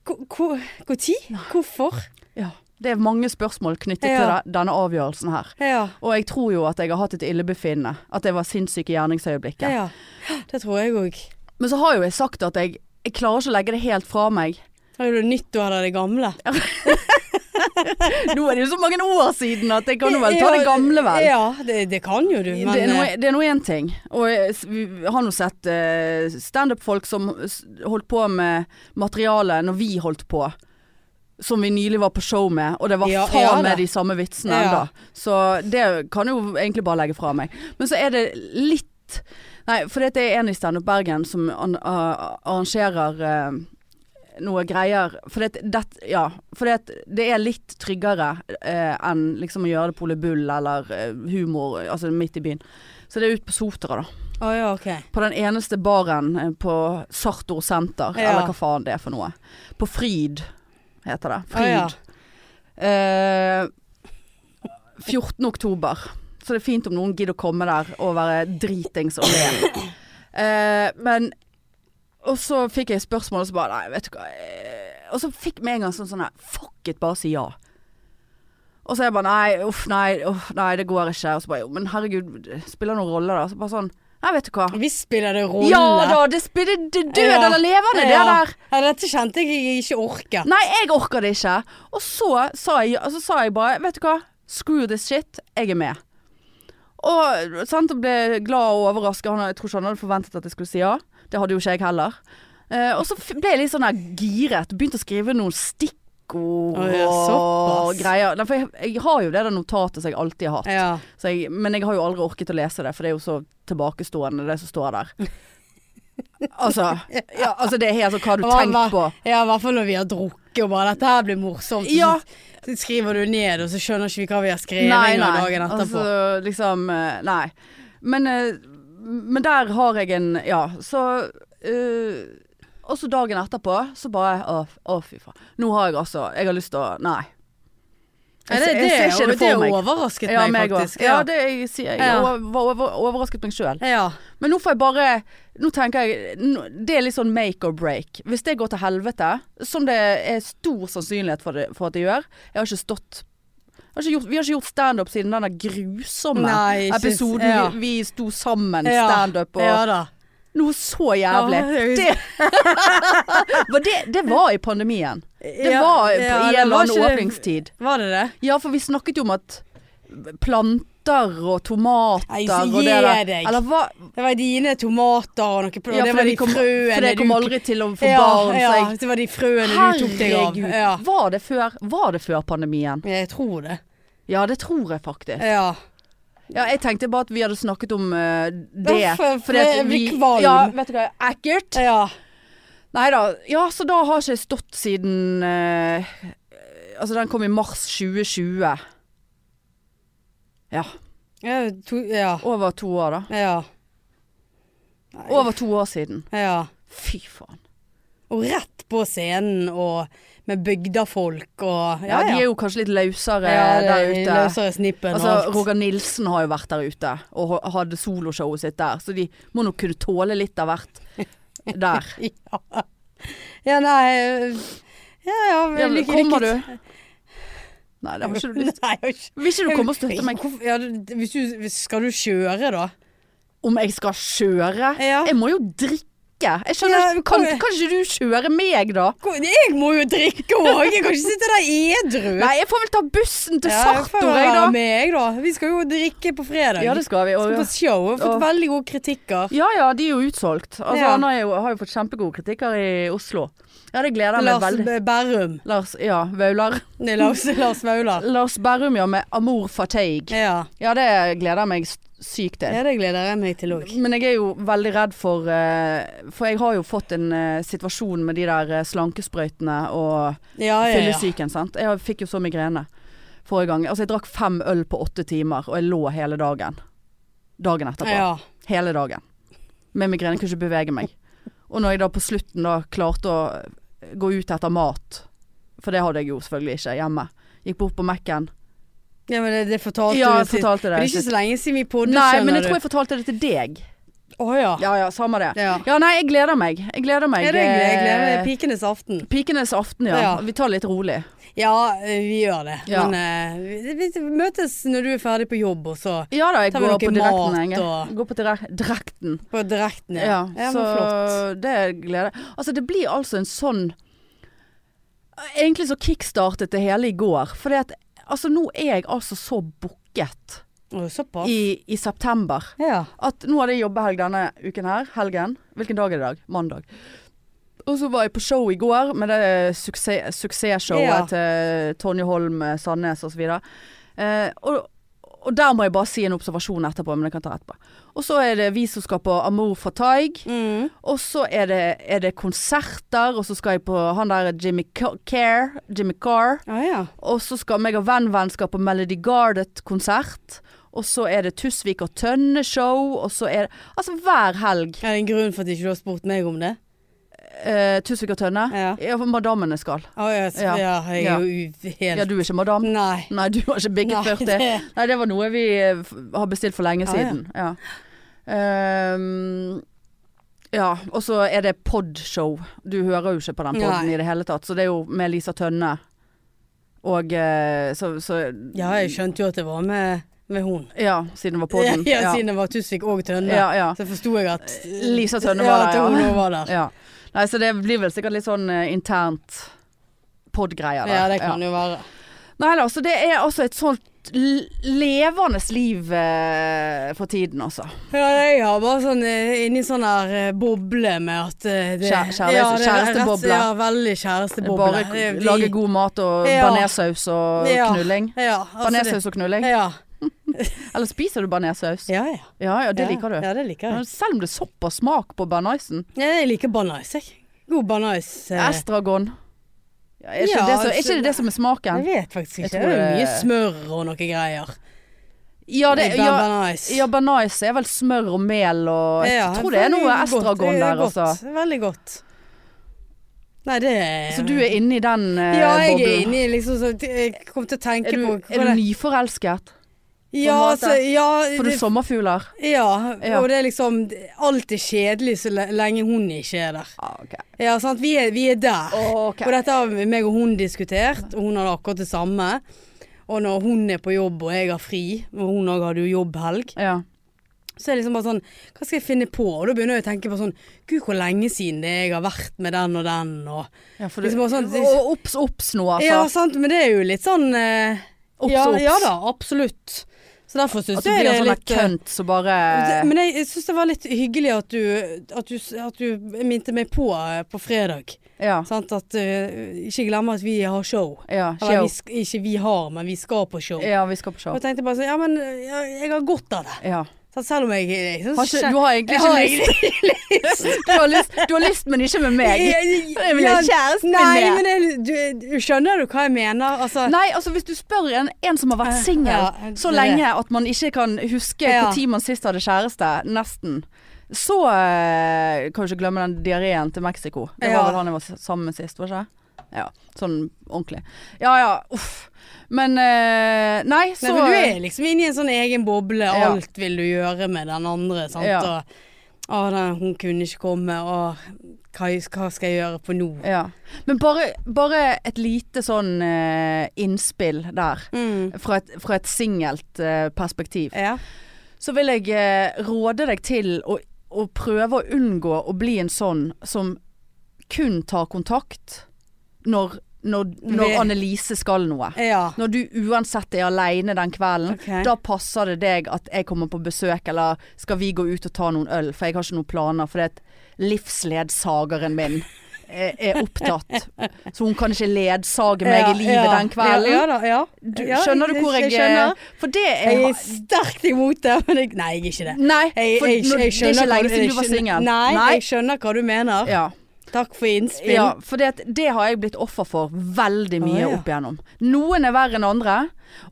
B: Hvor- Hvor hvor tid? Hvorfor?
A: Ja. Det er mange spørsmål knyttet
B: Ja.
A: til de- denne avgjørelsen her.
B: Ja.
A: Og jeg tror jo at jeg har hatt et illebefinnende. At det var sinnssyke gjerningsøyeblikket.
B: ja. Det tror jeg òg.
A: Men så har jo jeg sagt at jeg, jeg klarer ikke å legge det helt fra meg.
B: Det er jo nytt du hadde av det gamle.
A: Nå er det jo så mange år siden at jeg kan jo vel ta det gamle, vel.
B: Ja, det, det kan jo du, men
A: det er nå-
B: eh,
A: det er nå én ting, og jeg s- vi har nå sett eh, standup-folk som s- holdt på med materiale når vi holdt på, som vi nylig var på show med, og det var
B: Ja,
A: faen
B: ja da.
A: meg de samme vitsene
B: Ja.
A: ennå. Så det kan jeg jo egentlig bare legge fra meg. Men så er det litt Nei, for det er en i Standup Bergen som an, a- arrangerer eh, noe greier. For det, det, ja, for det, det er litt tryggere eh, enn liksom å gjøre det på Ole Bull eller eh, humor, altså midt i byen. Så det er ut på Sotra, da.
B: eh, Å ja, OK.
A: På den eneste baren eh, på Sartor senter,
B: Ja.
A: eller hva faen det er for noe. På Fryd heter det.
B: Å,
A: Fryd.
B: ja.
A: Eh, 14. oktober. Så det er fint om noen gidder å komme der og være dritings og le. Eh, men Og så fikk jeg spørsmål, og så bare Nei, vet du hva. eh, Og så fikk vi en gang sånn sånn her Fuck it, bare si ja. Og så er jeg bare Nei, uff, nei, uff, nei, det går ikke. Og så bare Jo, men herregud, det spiller noen rolle, da. Så bare sånn Nei, vet du hva.
B: Visst spiller det rolle.
A: Ja da, det spiller det er død
B: Ja.
A: eller levende,
B: Ja.
A: det der.
B: Ja, dette kjente jeg jeg ikke orket.
A: Nei, jeg orker det ikke. Og så sa jeg, og så sa jeg bare, vet du hva, screw this shit, jeg er med. Og sant, og ble glad og overrasket. Han, jeg tror ikke han hadde forventet at jeg skulle si ja. Det hadde jo ikke jeg heller. Eh, og så f- ble jeg litt sånn her giret. Begynte å skrive noen stikkord
B: Å, ja,
A: og
B: såpass.
A: greier. Nei, for jeg, jeg har jo det der notatet som jeg alltid har hatt.
B: Ja.
A: Så jeg, men jeg har jo aldri orket å lese det, for det er jo så tilbakestående det som står der. Altså, ja, altså det er helt sånn hva har du tenkt på.
B: Ja, i hvert fall når vi har drukket og bare dette her blir morsomt. Så-
A: Ja.
B: Så skriver du ned, og så skjønner ikke vi hva vi har skrevet engang dagen etterpå.
A: Altså, liksom eh, Nei. Men, eh, men der har jeg en Ja, så eh, Og så dagen etterpå, så bare Å, f- å, fy faen. Nå har jeg altså Jeg har lyst til å Nei.
B: Nei,
A: Jeg, jeg, jeg ser ikke det
B: det
A: for meg.
B: overrasket
A: Ja,
B: meg
A: meg òg.
B: faktisk.
A: Ja, det jeg sier jeg.
B: Ja.
A: Jeg var over, overrasket meg sjøl.
B: ja.
A: Men nå får jeg bare Nå tenker jeg nå- Det er litt sånn make or break. Hvis det går til helvete, som det er stor sannsynlighet for, det, for at det gjør Jeg har ikke stått jeg har ikke gjort, Vi har ikke gjort standup siden den der grusomme
B: Nei, ikke-
A: episoden
B: ja.
A: vi, vi sto sammen
B: Ja.
A: standup og
B: ja da.
A: Noe så jævlig.
B: Ja, jeg-
A: det, var det, det var i pandemien. Det
B: Ja,
A: var
B: ja,
A: i
B: det
A: en eller
B: var
A: annen
B: ikke det.
A: åpningstid.
B: Var det det?
A: Ja, for vi snakket jo om at planter og tomater
B: Nei, så
A: og det
B: gi
A: der.
B: deg.
A: Eller hva
B: Det var dine tomater og noe
A: Ja,
B: Det
A: for
B: var de
A: kom,
B: frøene
A: for det kom
B: du-
A: aldri til å få
B: ja,
A: barn.
B: Ja,
A: Så jeg,
B: det var de frøene du tok deg av.
A: herregud,
B: Ja.
A: var, det før, var det før pandemien?
B: Jeg tror det.
A: Ja, det tror jeg faktisk.
B: Ja.
A: Ja, jeg tenkte bare at vi hadde snakket om eh, det.
B: Ja, for- for
A: fordi at
B: jeg
A: vi-
B: blir kvalm.
A: Ja, vet du hva, ekkelt.
B: ja.
A: Nei da. Ja, så da har ikke jeg stått siden eh, Altså, den kom i mars 2020. Ja.
B: Ja. To, ja.
A: Over to år, da.
B: ja.
A: Over to år siden.
B: ja.
A: Fy faen.
B: Og rett på scenen og med bygdafolk og
A: Ja, de er jo kanskje litt løsere
B: Ja, det er
A: der ute.
B: Løsere snippen
A: Altså,
B: og alt.
A: Roger Nilsen har jo vært der ute og ha- hadde soloshowet sitt der, så de må nok kunne tåle litt av hvert der.
B: Ja. ja, nei Ja, ja,
A: Ja,
B: lykke-
A: kommer
B: lykke-
A: du? Nei, det har ikke du lyst
B: Nei, jeg har ikke
A: Vil ikke du komme og støtte meg?
B: Hvorfor- Ja, du- hvis du, hvis- skal du kjøre, da?
A: Om jeg skal kjøre?
B: Ja.
A: Jeg må jo drikke. Jeg
B: Ja,
A: skjønner
B: men
A: ikke kan,
B: kom-
A: kan ikke du kjøre meg, da?
B: Hvor- Jeg må jo drikke òg! Jeg kan ikke sitte der edru.
A: Nei, jeg får vel ta bussen til
B: Ja, jeg får
A: Sartor, jeg,
B: være
A: da.
B: med, jeg, da. Vi skal jo drikke på fredag.
A: Ja, det skal vi.
B: skal
A: Og,
B: på show. Jeg har
A: Åh.
B: fått veldig gode kritikker.
A: ja ja, de er jo utsolgt. Altså,
B: Ja.
A: Han har jo, har jo fått kjempegode kritikker i Oslo. Ja, det gleder jeg meg
B: Lars
A: veldig.
B: B- Berrum.
A: Lars, ja, Vaular.
B: Nei, Lars, Lars Vaular.
A: Lars Berrum, ja, med Amour Fatigue.
B: Ja.
A: Ja, det gleder jeg meg s- sykt til.
B: ja, det gleder jeg meg til òg.
A: Men jeg er jo veldig redd for eh, For jeg har jo fått en eh, situasjon med de der eh, slankesprøytene og
B: Ah, Ja, ja, ja.
A: fyllesyken, sant. Jeg fikk jo så migrene forrige gang. Altså, jeg drakk fem øl på åtte timer, og jeg lå hele dagen. Dagen etterpå.
B: Ah, ja.
A: Hele dagen. Med migrene. Kunne ikke bevege meg. Og når jeg da på slutten da klarte å gå ut etter mat, for det hadde jeg jo selvfølgelig ikke hjemme, gikk bort på Mac-en
B: ja, men det, det fortalte
A: Ja,
B: du
A: jeg fortalte
B: Det
A: det.
B: er ikke så lenge siden vi poddet,
A: Nei,
B: skjønner
A: men jeg
B: du.
A: tror jeg fortalte det til deg.
B: Å ja.
A: Ja ja, samme det.
B: Ja.
A: Ja, nei, jeg gleder meg. Jeg gleder meg.
B: Ja, det gleder jeg gleder meg.
A: eh,
B: Pikenes aften.
A: Pikenes aften, ja.
B: Ja.
A: Vi tar det litt rolig.
B: Ja, eh, vi gjør det.
A: Ja.
B: Men eh, vi, vi møtes når du er ferdig på jobb, og så
A: Ja da, jeg
B: Tar vi
A: går
B: noe
A: på direkten.
B: mat
A: jeg.
B: og-
A: Jeg går på direk- direkten.
B: på direkten.
A: Ja,
B: ja
A: så
B: men flott.
A: det gleder jeg Altså, det blir altså en sånn Egentlig så kickstartet det hele i går. Fordi at altså, nå er jeg altså så booket
B: Å, såpass.
A: i, i september.
B: Ja.
A: at nå hadde jeg jobbehelg denne uken her. Helgen. Hvilken dag er det i dag? Mandag. Og så var jeg på show i går med det suksess- suksessshowet
B: Ja.
A: til Tonje Holm, eh, Sandnes osv. Eh, og, og der må jeg bare si en observasjon etterpå, men det kan jeg ta etterpå. Og så er det vi som skal på Amour for Taig.
B: Mm.
A: Og så er det, er det konserter, og så skal jeg på han der Jimmy Ca- Care, Jimmy Carr.
B: Ah, ja.
A: Og så skal meg og venn-venn skal på Melody Gardet-konsert. Og så er det Tusvik og Tønne-show, og så er det Altså hver helg
B: Er det en grunn for at ikke du har spurt meg om det?
A: eh, Tusvik og Tønne.
B: Ja.
A: Ja, for Madammene skal.
B: Å, ja, så,
A: Ja.
B: ja. jeg er jo u- helt
A: Ja, du er ikke madam?
B: Nei.
A: Nei, du har ikke bigget
B: Nei,
A: 40.
B: det-
A: Nei, det var noe vi eh, f- har bestilt for lenge
B: Ah, ja.
A: siden. Ja. Ehm, ja, og så er det podshow. Du hører jo ikke på den podden
B: Nei.
A: i det hele tatt. Så det er jo med Lisa Tønne. Og eh, så, så
B: Ja, jeg skjønte jo at det var med, med hun.
A: Ja, siden det var podden.
B: Ja, siden det var Tusvik og Tønne.
A: Ja, ja.
B: Så forsto jeg at
A: Lisa Tønne
B: ja,
A: var der,
B: at
A: ja.
B: hun også var der.
A: Ja. Nei, så det blir vel sikkert litt sånn eh, internt pod-greier der.
B: Ja, det kan jo være.
A: Nei da, så det er altså et sånt l- levende liv eh, for tiden, altså.
B: Ja, jeg har bare sånn eh, inni sånn her eh, boble med at eh, det,
A: Kjæ- kjæreste-
B: ja, det er rett-
A: kjæresteboble.
B: Ja, veldig kjæresteboble.
A: Bare k-
B: Det- vi-
A: lage god mat og
B: Ja.
A: bearnéssaus og
B: Ja.
A: knulling.
B: ja, altså
A: Bearnéssaus og
B: det-
A: knulling.
B: Ja.
A: Eller spiser du bearnéssaus?
B: ja, ja.
A: Ja ja, det liker du.
B: Ja, det liker
A: Men
B: jeg.
A: Selv om det er såpass smak på bearnésen.
B: Ja, jeg liker banais, jeg. God banais. eh,
A: Estragon. Ja, er, ikke
B: Ja,
A: det så, er ikke
B: altså-
A: det det som er
B: Jeg
A: smaken?
B: vet faktisk
A: Jeg
B: ikke.
A: tror
B: Det er jo
A: det-
B: mye smør og noe greier.
A: Ja, det,
B: I
A: ja,
B: banais.
A: ja bearnés er vel smør og mel og Jeg
B: Ja,
A: tror det er noe
B: veldig godt.
A: estragon
B: Det er
A: der,
B: godt.
A: altså.
B: Veldig godt. Nei, det
A: Så du er inne i den eh,
B: Ja, jeg er
A: boblen?
B: inne i liksom så Jeg kom til å tenke
A: Er du,
B: på
A: er du
B: det- nyforelsket?
A: nyforelsket?
B: Ja,
A: måte?
B: altså ja,
A: Får du
B: det,
A: sommerfugler?
B: ja,
A: Ja.
B: og det er liksom Alt er kjedelig så le- lenge hun ikke er der.
A: Ah, ok.
B: Ja, sant. Vi er, vi er der.
A: Ok.
B: Og dette har meg og hun diskutert, og hun har akkurat det samme. Og når hun er på jobb og jeg har fri, og hun òg hadde jo jobbhelg,
A: Ja.
B: Så er det liksom bare sånn Hva skal jeg finne på? Og da begynner jeg å tenke på sånn Gud, hvor lenge siden det er jeg har vært med den og den og
A: for du,
B: Liksom bare sånn-
A: og obs, obs nå, altså.
B: Ja, sant, men det er jo litt sånn eh,
A: Obs,
B: ja,
A: obs.
B: ja da, absolutt. Så derfor syns
A: At du
B: jeg
A: blir en
B: det er
A: sånn der
B: litt eh,
A: kønt som bare
B: Men jeg, jeg syns det var litt hyggelig at du, at du, at du minte meg på eh, på fredag.
A: Ja.
B: Sant? At eh, Ikke glemme at vi har show.
A: ja.
B: Eller
A: show.
B: vi, sk- ikke vi har, men vi skal på show.
A: Ja, vi skal på
B: Og
A: show.
B: jeg tenkte bare sånn Ja, men eh, jeg, jeg har godt av det.
A: Ja.
B: Sant, selv om jeg, jeg synes
A: Har ikke,
B: ikke-
A: du har egentlig
B: Jeg har
A: ikke lyst. Du har lyst, du har lyst, men ikke med meg. Jeg vil ha kjæresten min
B: Nei,
A: med.
B: men det, du, du skjønner du hva jeg mener? Altså,
A: Nei, altså hvis du spør en, en som har vært singel
B: Ja, det-
A: så lenge at man ikke kan huske
B: Ja.
A: når man sist hadde kjæreste, nesten, så eh, kan du ikke glemme den diareen til Mexico. Det var
B: Ja.
A: vel han jeg var s- sammen med sist, var det ikke? Ja, sånn ordentlig. Ja ja, uff. Men eh, Nei, så
B: Nei, men du er liksom inne i en sånn egen boble.
A: Ja.
B: Alt vil du gjøre med den andre. Sant?
A: Ja.
B: Og, å, den, hun kunne ikke komme. Å, hva, hva skal jeg gjøre på nå?
A: ja. Men bare, bare et lite sånn eh, innspill der.
B: Mm.
A: Fra et, fra et singelt eh, perspektiv.
B: Ja.
A: Så vil jeg eh, råde deg til å, å prøve å unngå å bli en sånn som kun tar kontakt når, når, når
B: Ved-
A: Annelise skal noe.
B: ja.
A: Når du uansett er aleine den kvelden,
B: Ok.
A: da passer det deg at jeg kommer på besøk, eller skal vi gå ut og ta noen øl, for jeg har ikke noen planer, for det er at livsledsageren min er, er opptatt. Så hun kan ikke ledsage meg
B: Ja,
A: i livet
B: ja.
A: den kvelden.
B: Ja, ja, da, ja.
A: Du,
B: ja,
A: skjønner du hvor jeg, eh,
B: skjønner?
A: For det er
B: Jeg er sterkt imot det, men jeg, nei, jeg er ikke det.
A: Nei,
B: Jeg,
A: for
B: jeg, jeg,
A: når, det er
B: skjønner
A: ikke
B: hva
A: lenge
B: du-
A: siden
B: jeg
A: du var
B: skjønner-
A: singel.
B: Nei,
A: Nei.
B: jeg skjønner hva du mener.
A: Ja.
B: Takk for innspill.
A: Ja, for det, det har jeg blitt offer for veldig mye
B: Å, ja.
A: opp igjennom. Noen er verre enn andre.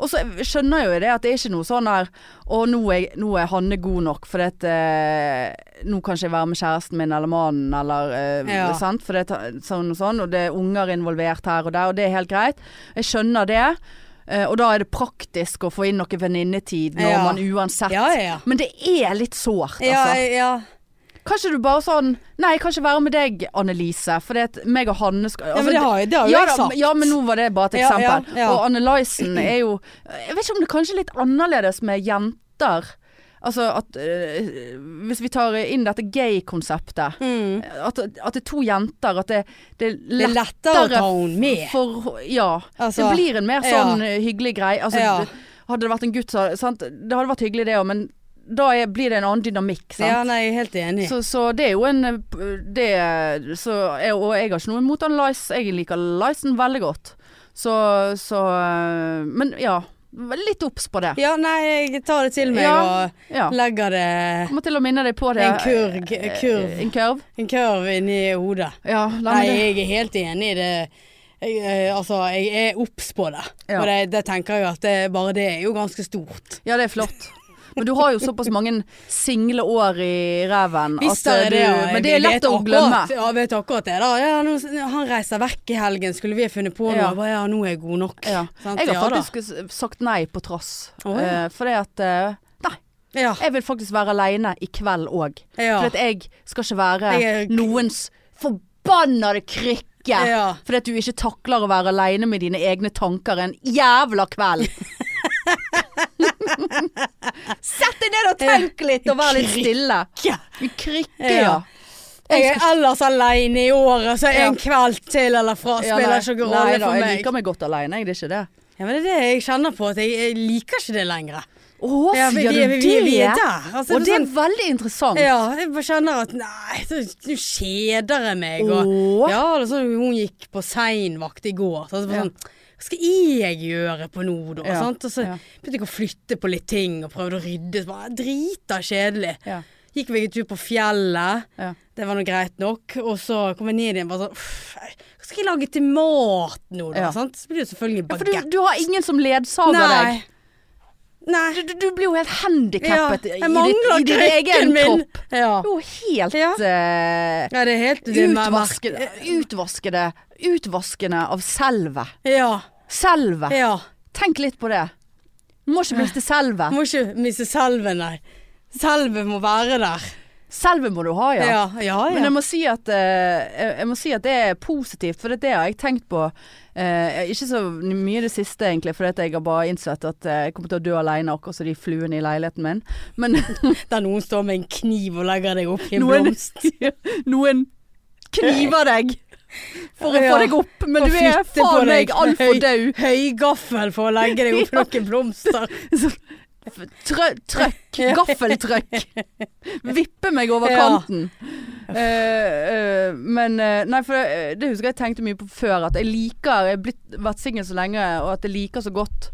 A: Og så skjønner jo jeg det at det er ikke noe sånn her Å, nå er, nå er Hanne god nok, for det at eh, Nå kan ikke jeg være med kjæresten min eller mannen eller eh,
B: Ja.
A: sant? For det er ta- sånn og sånn, og det er unger involvert her og der, og det er helt greit. Jeg skjønner det. Eh, og da er det praktisk å få inn noe venninnetid når
B: Ja.
A: man uansett
B: Ja, ja, ja.
A: Men det er litt sårt, altså.
B: Ja, ja.
A: Kanskje du bare sånn Nei, jeg kan ikke være med deg, Annelise. For det at meg og Hanne skal altså,
B: ja, men det har, det har jo
A: ja,
B: jeg
A: da,
B: sagt.
A: ja, men nå var det bare et
B: Ja, ja,
A: eksempel.
B: ja.
A: Og Annelisen er jo Jeg vet ikke om det er kanskje litt annerledes med jenter. Altså at eh, Hvis vi tar inn dette gay-konseptet.
B: Mm.
A: At, at det er to jenter. At det, det er
B: Det er
A: lettere
B: lettere å ta henne med.
A: for Ja.
B: Altså,
A: det blir en mer
B: ja.
A: sånn eh, hyggelig greie. Altså,
B: Ja.
A: det- Hadde det vært en gutt, så sant? Det hadde vært hyggelig det òg, men da er, blir det en annen dynamikk. Sant?
B: Ja, nei, jeg er helt enig.
A: Så, så det er jo en eh, p- det, så, jeg- Og jeg har ikke noe imot han Lice. Jeg liker Licen veldig godt. Så, så eh, Men ja. vær Litt obs på det.
B: Ja, nei, jeg tar det til meg
A: Ja. Ja.
B: og legger det
A: Kommer til å minne deg på det.
B: en kurg,
A: Eh,
B: kurv,
A: En kurv?
B: en kurv inni hodet.
A: Ja. La meg
B: Nei,
A: det.
B: jeg er helt enig i det. Jeg, eh, altså, jeg er obs på det.
A: Ja.
B: Og det, det tenker jeg at det, bare det er jo ganske stort.
A: Ja, det er flott. Men du har jo såpass mange single år i ræven.
B: Hvis
A: at, eh,
B: det er det,
A: Altså, du-
B: ja.
A: Men det
B: Jeg
A: er lett
B: vet
A: å
B: akkurat-
A: glemme.
B: Ja, jeg vet akkurat det. da. Ja, nå, han reiser vekk i helgen, skulle vi ha funnet på noe?
A: Ja.
B: Ja, bare, ja nå er jeg god nok.
A: Ja.
B: Sant?
A: Jeg
B: Ja,
A: har
B: da.
A: faktisk s- sagt nei på trass.
B: Å, ja.
A: Eh, Fordi at eh, Nei,
B: Ja.
A: jeg vil faktisk være aleine i kveld òg.
B: Ja.
A: For at jeg skal ikke være
B: Jeg er-
A: noens forbannede krykke.
B: Ja.
A: Fordi at du ikke takler å være aleine med dine egne tanker en jævla kveld. Sett deg ned og tenk litt, og vær litt stille.
B: Ja.
A: En krykke,
B: Ja.
A: ja.
B: Jeg er ellers aleine i året, så
A: Ja.
B: en kveld til eller fra
A: Ja,
B: spiller
A: nei.
B: ikke noen
A: Nei
B: rolle
A: da,
B: for
A: Jeg
B: meg.
A: liker meg godt aleine, jeg. Det er ikke det.
B: Ja, men det er det jeg kjenner på, at jeg, jeg liker ikke det lenger.
A: Å,
B: Ja, vi,
A: sier
B: vi,
A: du
B: vi, vi er
A: det?
B: der. Altså,
A: Og det er
B: sånn,
A: veldig interessant.
B: ja, jeg bare kjenner at nei, så- nå kjeder jeg meg. Og,
A: Åh.
B: ja, da så du hun gikk på seinvakt i går. Så, det var
A: Ja.
B: sånn, hva skal jeg gjøre på nå, da?
A: Ja,
B: Sant? Og så
A: ja.
B: begynte jeg å flytte på litt ting og prøvde å rydde. Så bare, Drita kjedelig.
A: Ja.
B: Gikk meg en tur på fjellet.
A: Ja.
B: Det var noe greit nok. Og så kom jeg ned igjen bare sånn «Uff, Hva skal jeg lage til mat nå, da?
A: Ja.
B: Sant? Så blir det selvfølgelig
A: For du,
B: bagett.
A: du har ingen som ledsager deg.
B: Nei.
A: Du, du, du blir jo helt handikappet i,
B: jeg
A: ditt,
B: mangler
A: i din egen
B: krykken min.
A: kropp.
B: Ja.
A: Du er jo helt
B: Ja.
A: eh,
B: ja, det er helt det er mer-
A: utvaskede, utvaskede Utvaskende av selvet.
B: Ja.
A: Selvet.
B: ja.
A: Tenk litt på det. Må ikke miste selvet.
B: Må ikke miste salven, nei. Salven må være der.
A: Selvet må du ha,
B: Ja,
A: ja.
B: ja. ja,
A: Men jeg må, si at, eh, jeg jeg må si at det er positivt, for det det har jeg tenkt på eh, Ikke så mye i det siste, egentlig, for jeg har bare innsett at eh, jeg kommer til å dø alene, akkurat som de fluene i leiligheten min. Men
B: Der noen står med en kniv og legger deg opp i en
A: noen,
B: blomst.
A: noen kniver deg for å
B: Ja.
A: få deg opp, men
B: Og
A: du er
B: flytte på
A: faen meg
B: deg
A: altfor
B: høy-
A: død.
B: Høygaffel for å legge deg opp i noen blomster.
A: Trø trøkk, gaffeltrøkk. Vippe meg over
B: Ja.
A: kanten. Eh, eh, men eh, Nei, for det, det husker jeg tenkte mye på før. At jeg liker Jeg har blitt, vært singel så lenge, og at jeg liker så godt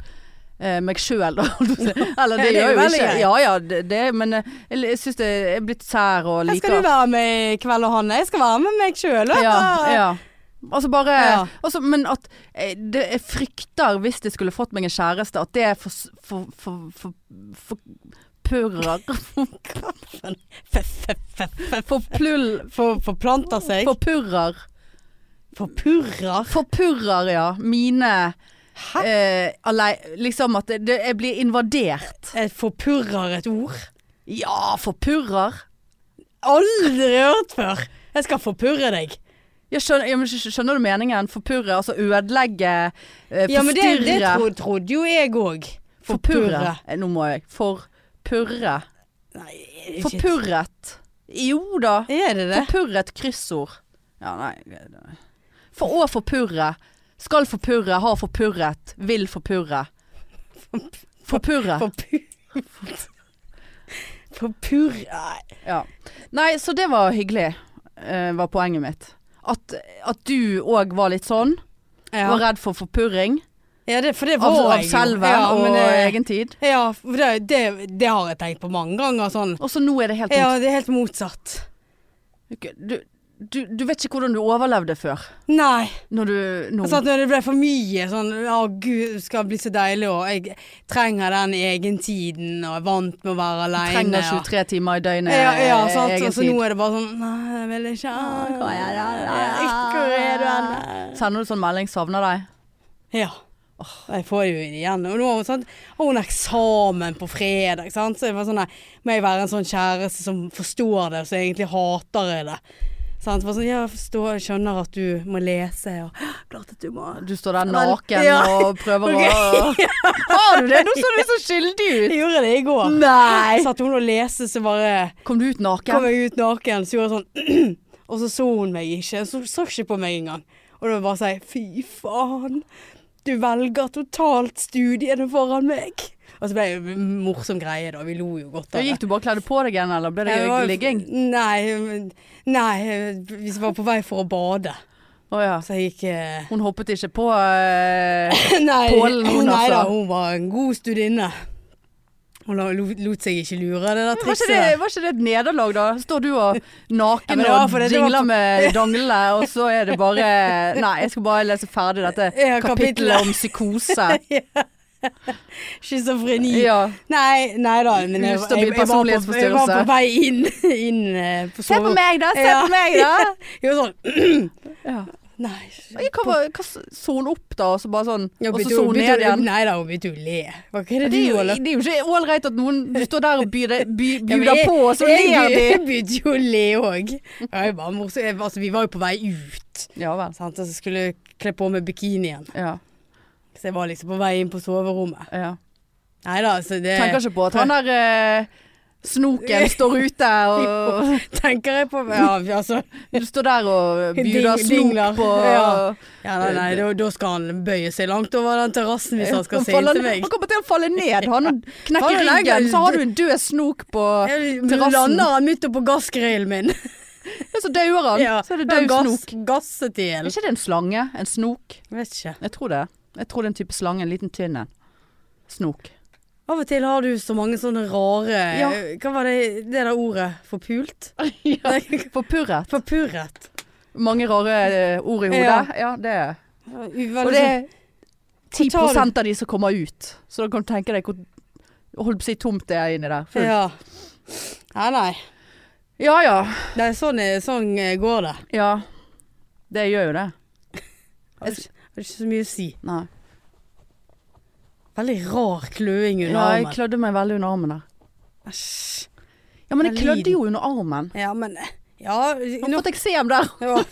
A: eh, meg sjøl, da. holdt jeg på å si. Eller det
B: Ja, det
A: gjør
B: er jo
A: jeg jo
B: veldig
A: ikke.
B: greit.
A: Ja ja, det, det men eh, jeg, jeg syns det jeg er blitt sær og
B: Her
A: liker
B: skal du være med i kveld og Hanne. Jeg skal være med meg sjøl.
A: Ja, ja. Altså bare
B: Ja.
A: altså, Men at eh, det, jeg frykter, hvis jeg skulle fått meg en kjæreste, at det for, for, for, for, for Purrer Forplull
B: For, forplanter seg.
A: Forpurrer
B: Forpurrer?
A: Forpurrer, ja. Mine
B: Hæ?
A: eh, alle- Liksom at det, det, jeg blir invadert.
B: Er Eh, forpurrer et ord?
A: Ja, forpurrer.
B: Aldri hørt før! Jeg skal forpurre deg.
A: Jeg skjønner, ja, men skj- skjønner du meningen? Forpurre, altså ødelegge, eh, forstyrre.
B: Ja, men det, det tro, trodde jo jeg òg.
A: Forpurre. Eh, Nå må jeg. Forpurre.
B: Nei, er det ikke-
A: Forpurret. Jo da.
B: Er det det?
A: Forpurret kryssord. Ja, nei det- det- For å forpurre. Skal forpurre, har forpurret, vil forpurre. Forpurre.
B: Forpurre Forpurre Nei.
A: Ja. Nei, så det var hyggelig, eh, var poenget mitt. At, at du òg var litt sånn. Var
B: Ja.
A: redd for forpurring
B: ja, det, for det
A: av,
B: var
A: av
B: jeg jo.
A: selve
B: ja,
A: og
B: men det-
A: egen tid.
B: Ja, for det, det, det har jeg tenkt på mange ganger sånn.
A: Og så nå er det helt
B: Ja, det er helt motsatt.
A: motsatt. du, du, du vet ikke hvordan du overlevde før.
B: Nei.
A: Når du nå
B: Altså at når det ble for mye sånn Å gud, det skal bli så deilig, og jeg trenger den egentiden, og er vant med å være aleine.
A: trenger 23 timer i døgnet
B: Ja, ja, sant.
A: sånn, eh, egen
B: Og så
A: tid.
B: nå er det bare sånn Nei, jeg vil ikke
A: Ah, hvor er du hen?
B: Hvor er du hen?
A: Sender du sånn melding 'savner deg'?
B: Ja. Jeg får jo igjen. Og nå har hun sånn, har hun eksamen på fredag, sant? så jeg var sånn nei, Må jeg være en sånn kjæreste som forstår det, så egentlig hater jeg det. Sant? Bare sånn, ja, jeg forstår, jeg skjønner at du må lese, og klart at du må
A: Du står der
B: Vel,
A: naken
B: ja.
A: og prøver å Har du det? Nå så du så skyldig ut!
B: Jeg gjorde det i går.
A: Nei!
B: Satt hun og leste, så bare
A: Kom du ut
B: kom
A: naken?
B: jeg ut naken, så gjorde jeg sånn Og så så hun meg ikke. Så så ikke på meg engang. Og da bare sier fy faen. Du velger totalt studiene foran meg. Og så ble det en morsom greie, da. Vi lo jo godt
A: Da
B: av det.
A: gikk du bare og kledde på deg igjen, eller ble det
B: Jeg var-
A: ligging?
B: Nei, men- nei, vi var på vei for å bade.
A: Å ja.
B: Så jeg gikk eh,
A: Hun hoppet ikke på eh,
B: Nei,
A: Pålen, hun,
B: nei da,
A: altså.
B: hun var en god studinne. Hun la- lot lot seg ikke lure av det der
A: var ikke,
B: trikset.
A: det, var ikke det et nederlag, da? Står du og
B: Ja,
A: naken
B: men det var
A: og
B: fordi det
A: dingler
B: var-
A: med danglene, og så er det bare Nei, jeg skal bare lese ferdig dette
B: Ja, kapitlet.
A: kapittelet om psykose.
B: Schizofreni.
A: Ja.
B: Nei, nei da. Men jeg, jeg,
A: Ustabil
B: jeg, var på, jeg var
A: personlighetsforstyrrelse.
B: på vei inn, inn eh, på
A: Se på
B: soverommet.
A: meg, da! Se
B: Ja.
A: på meg, da!
B: Jeg var sånn
A: Ja.
B: Nei.
A: Jeg, hva, var- hva så hun opp, da? Og så bare sånn Og
B: Ja,
A: så
B: begynte-
A: så hun
B: begynte-
A: ned igjen?
B: Nei da, hun begynte jo å le. Hva er det
A: Det
B: du
A: er jo,
B: holder
A: det er jo ikke ålreit at noen Du står der og byr deg by,
B: Ja, men
A: bjuder
B: jeg-
A: på, og så
B: jeg-
A: ler de.
B: Jeg begynte jo å le òg. Ja, jeg var morsom. Jeg- altså, vi var jo på vei ut.
A: Ja vel.
B: Sant? Og så skulle jeg kle på meg bikinien.
A: Ja.
B: Så jeg var liksom på vei inn på soverommet.
A: ja.
B: Nei da, altså det
A: Tenker ikke på at han der eh, snoken står ute og
B: tenker jeg på Ja, altså.
A: Du står der og bjuder
B: Ding- dingler.
A: snop på
B: Ja. Ja, nei, nei, da, da skal han bøye seg langt over den terrassen hvis han skal se inn
A: faller-
B: til meg.
A: han kommer til å falle ned, han og knekke
B: Faller ned,
A: ryggen, så
B: du-
A: har du en død snok på
B: Terrassen.
A: terrassen.
B: Lander han midt oppå gassgrillen min.
A: Ja, så dauer han.
B: Ja,
A: Så er det
B: den
A: død
B: gass-
A: snok.
B: Gasset i
A: Er
B: hjel.
A: ikke det en slange? En snok?
B: Vet ikke.
A: Jeg tror det. Jeg tror det er en type slange, en liten tynn en. Snok.
B: Av og til har du så mange sånne rare
A: Ja.
B: Hva var det, det der ordet? Forpult?
A: Ja.
B: Nei,
A: Forpurret.
B: Forpurret.
A: Mange rare eh, ord i hodet.
B: Ja.
A: Ja, det er
B: Og
A: Og det er 10
B: Hva tar
A: av de som kommer ut. Så da kan du tenke deg hvor Holdt på å si tomt det er inni der. Fullt.
B: Ja. Nei, nei.
A: Ja ja.
B: Nei, sånn, er- sånn eh, går det.
A: Ja. Det gjør jo det.
B: Har ikke, har ikke så mye å si.
A: Nei.
B: Veldig rar kløing under
A: Ja, jeg
B: armen.
A: klødde meg veldig under armen der.
B: Æsj.
A: Ja, men jeg
B: Den
A: klødde
B: lyden.
A: jo under armen.
B: Ja, men eh, Ja.
A: Nå har
B: Nå,
A: fått eksem der.
B: ja.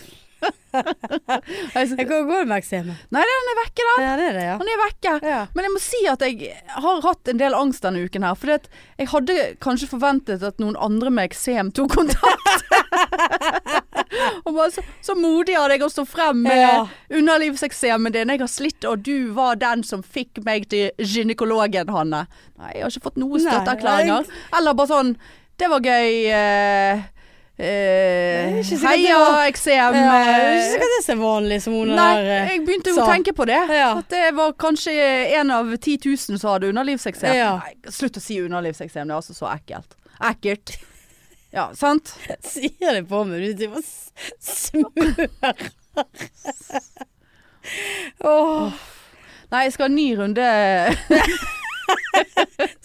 A: Jeg s-
B: Jeg kan jo gå med eksemen.
A: Nei, den er vekke, da.
B: Ja, det er det, ja.
A: Han er vekke.
B: ja.
A: Men jeg må si at jeg har hatt en del angst denne uken her. Fordi at jeg hadde kanskje forventet at noen andre med eksem tok kontakt. og bare så, så modig av deg å stå frem med
B: Ja.
A: underlivseksemen din. Jeg har slitt, og du var den som fikk meg til gynekologen, Hanne. Nei, jeg har ikke fått noen
B: Nei,
A: støtteerklæringer. Eller bare sånn Det var gøy. Eh, eh,
B: Nei, ikke sikkert det
A: heia,
B: var-
A: eksem.
B: Ja, det er
A: eh,
B: ikke sikkert det er så vanlig som hun
A: Nei,
B: der eh,
A: jeg begynte jo
B: sa.
A: å tenke på det.
B: Ja.
A: At det var kanskje en av 10 000 som hadde underlivseksem.
B: Ja.
A: Nei, slutt å si underlivseksem, det er altså så ekkelt. Ekkelt. Ja, sant?
B: sier det på meg. Du driver og s- smører. Åh,
A: Nei, jeg skal ha en ny runde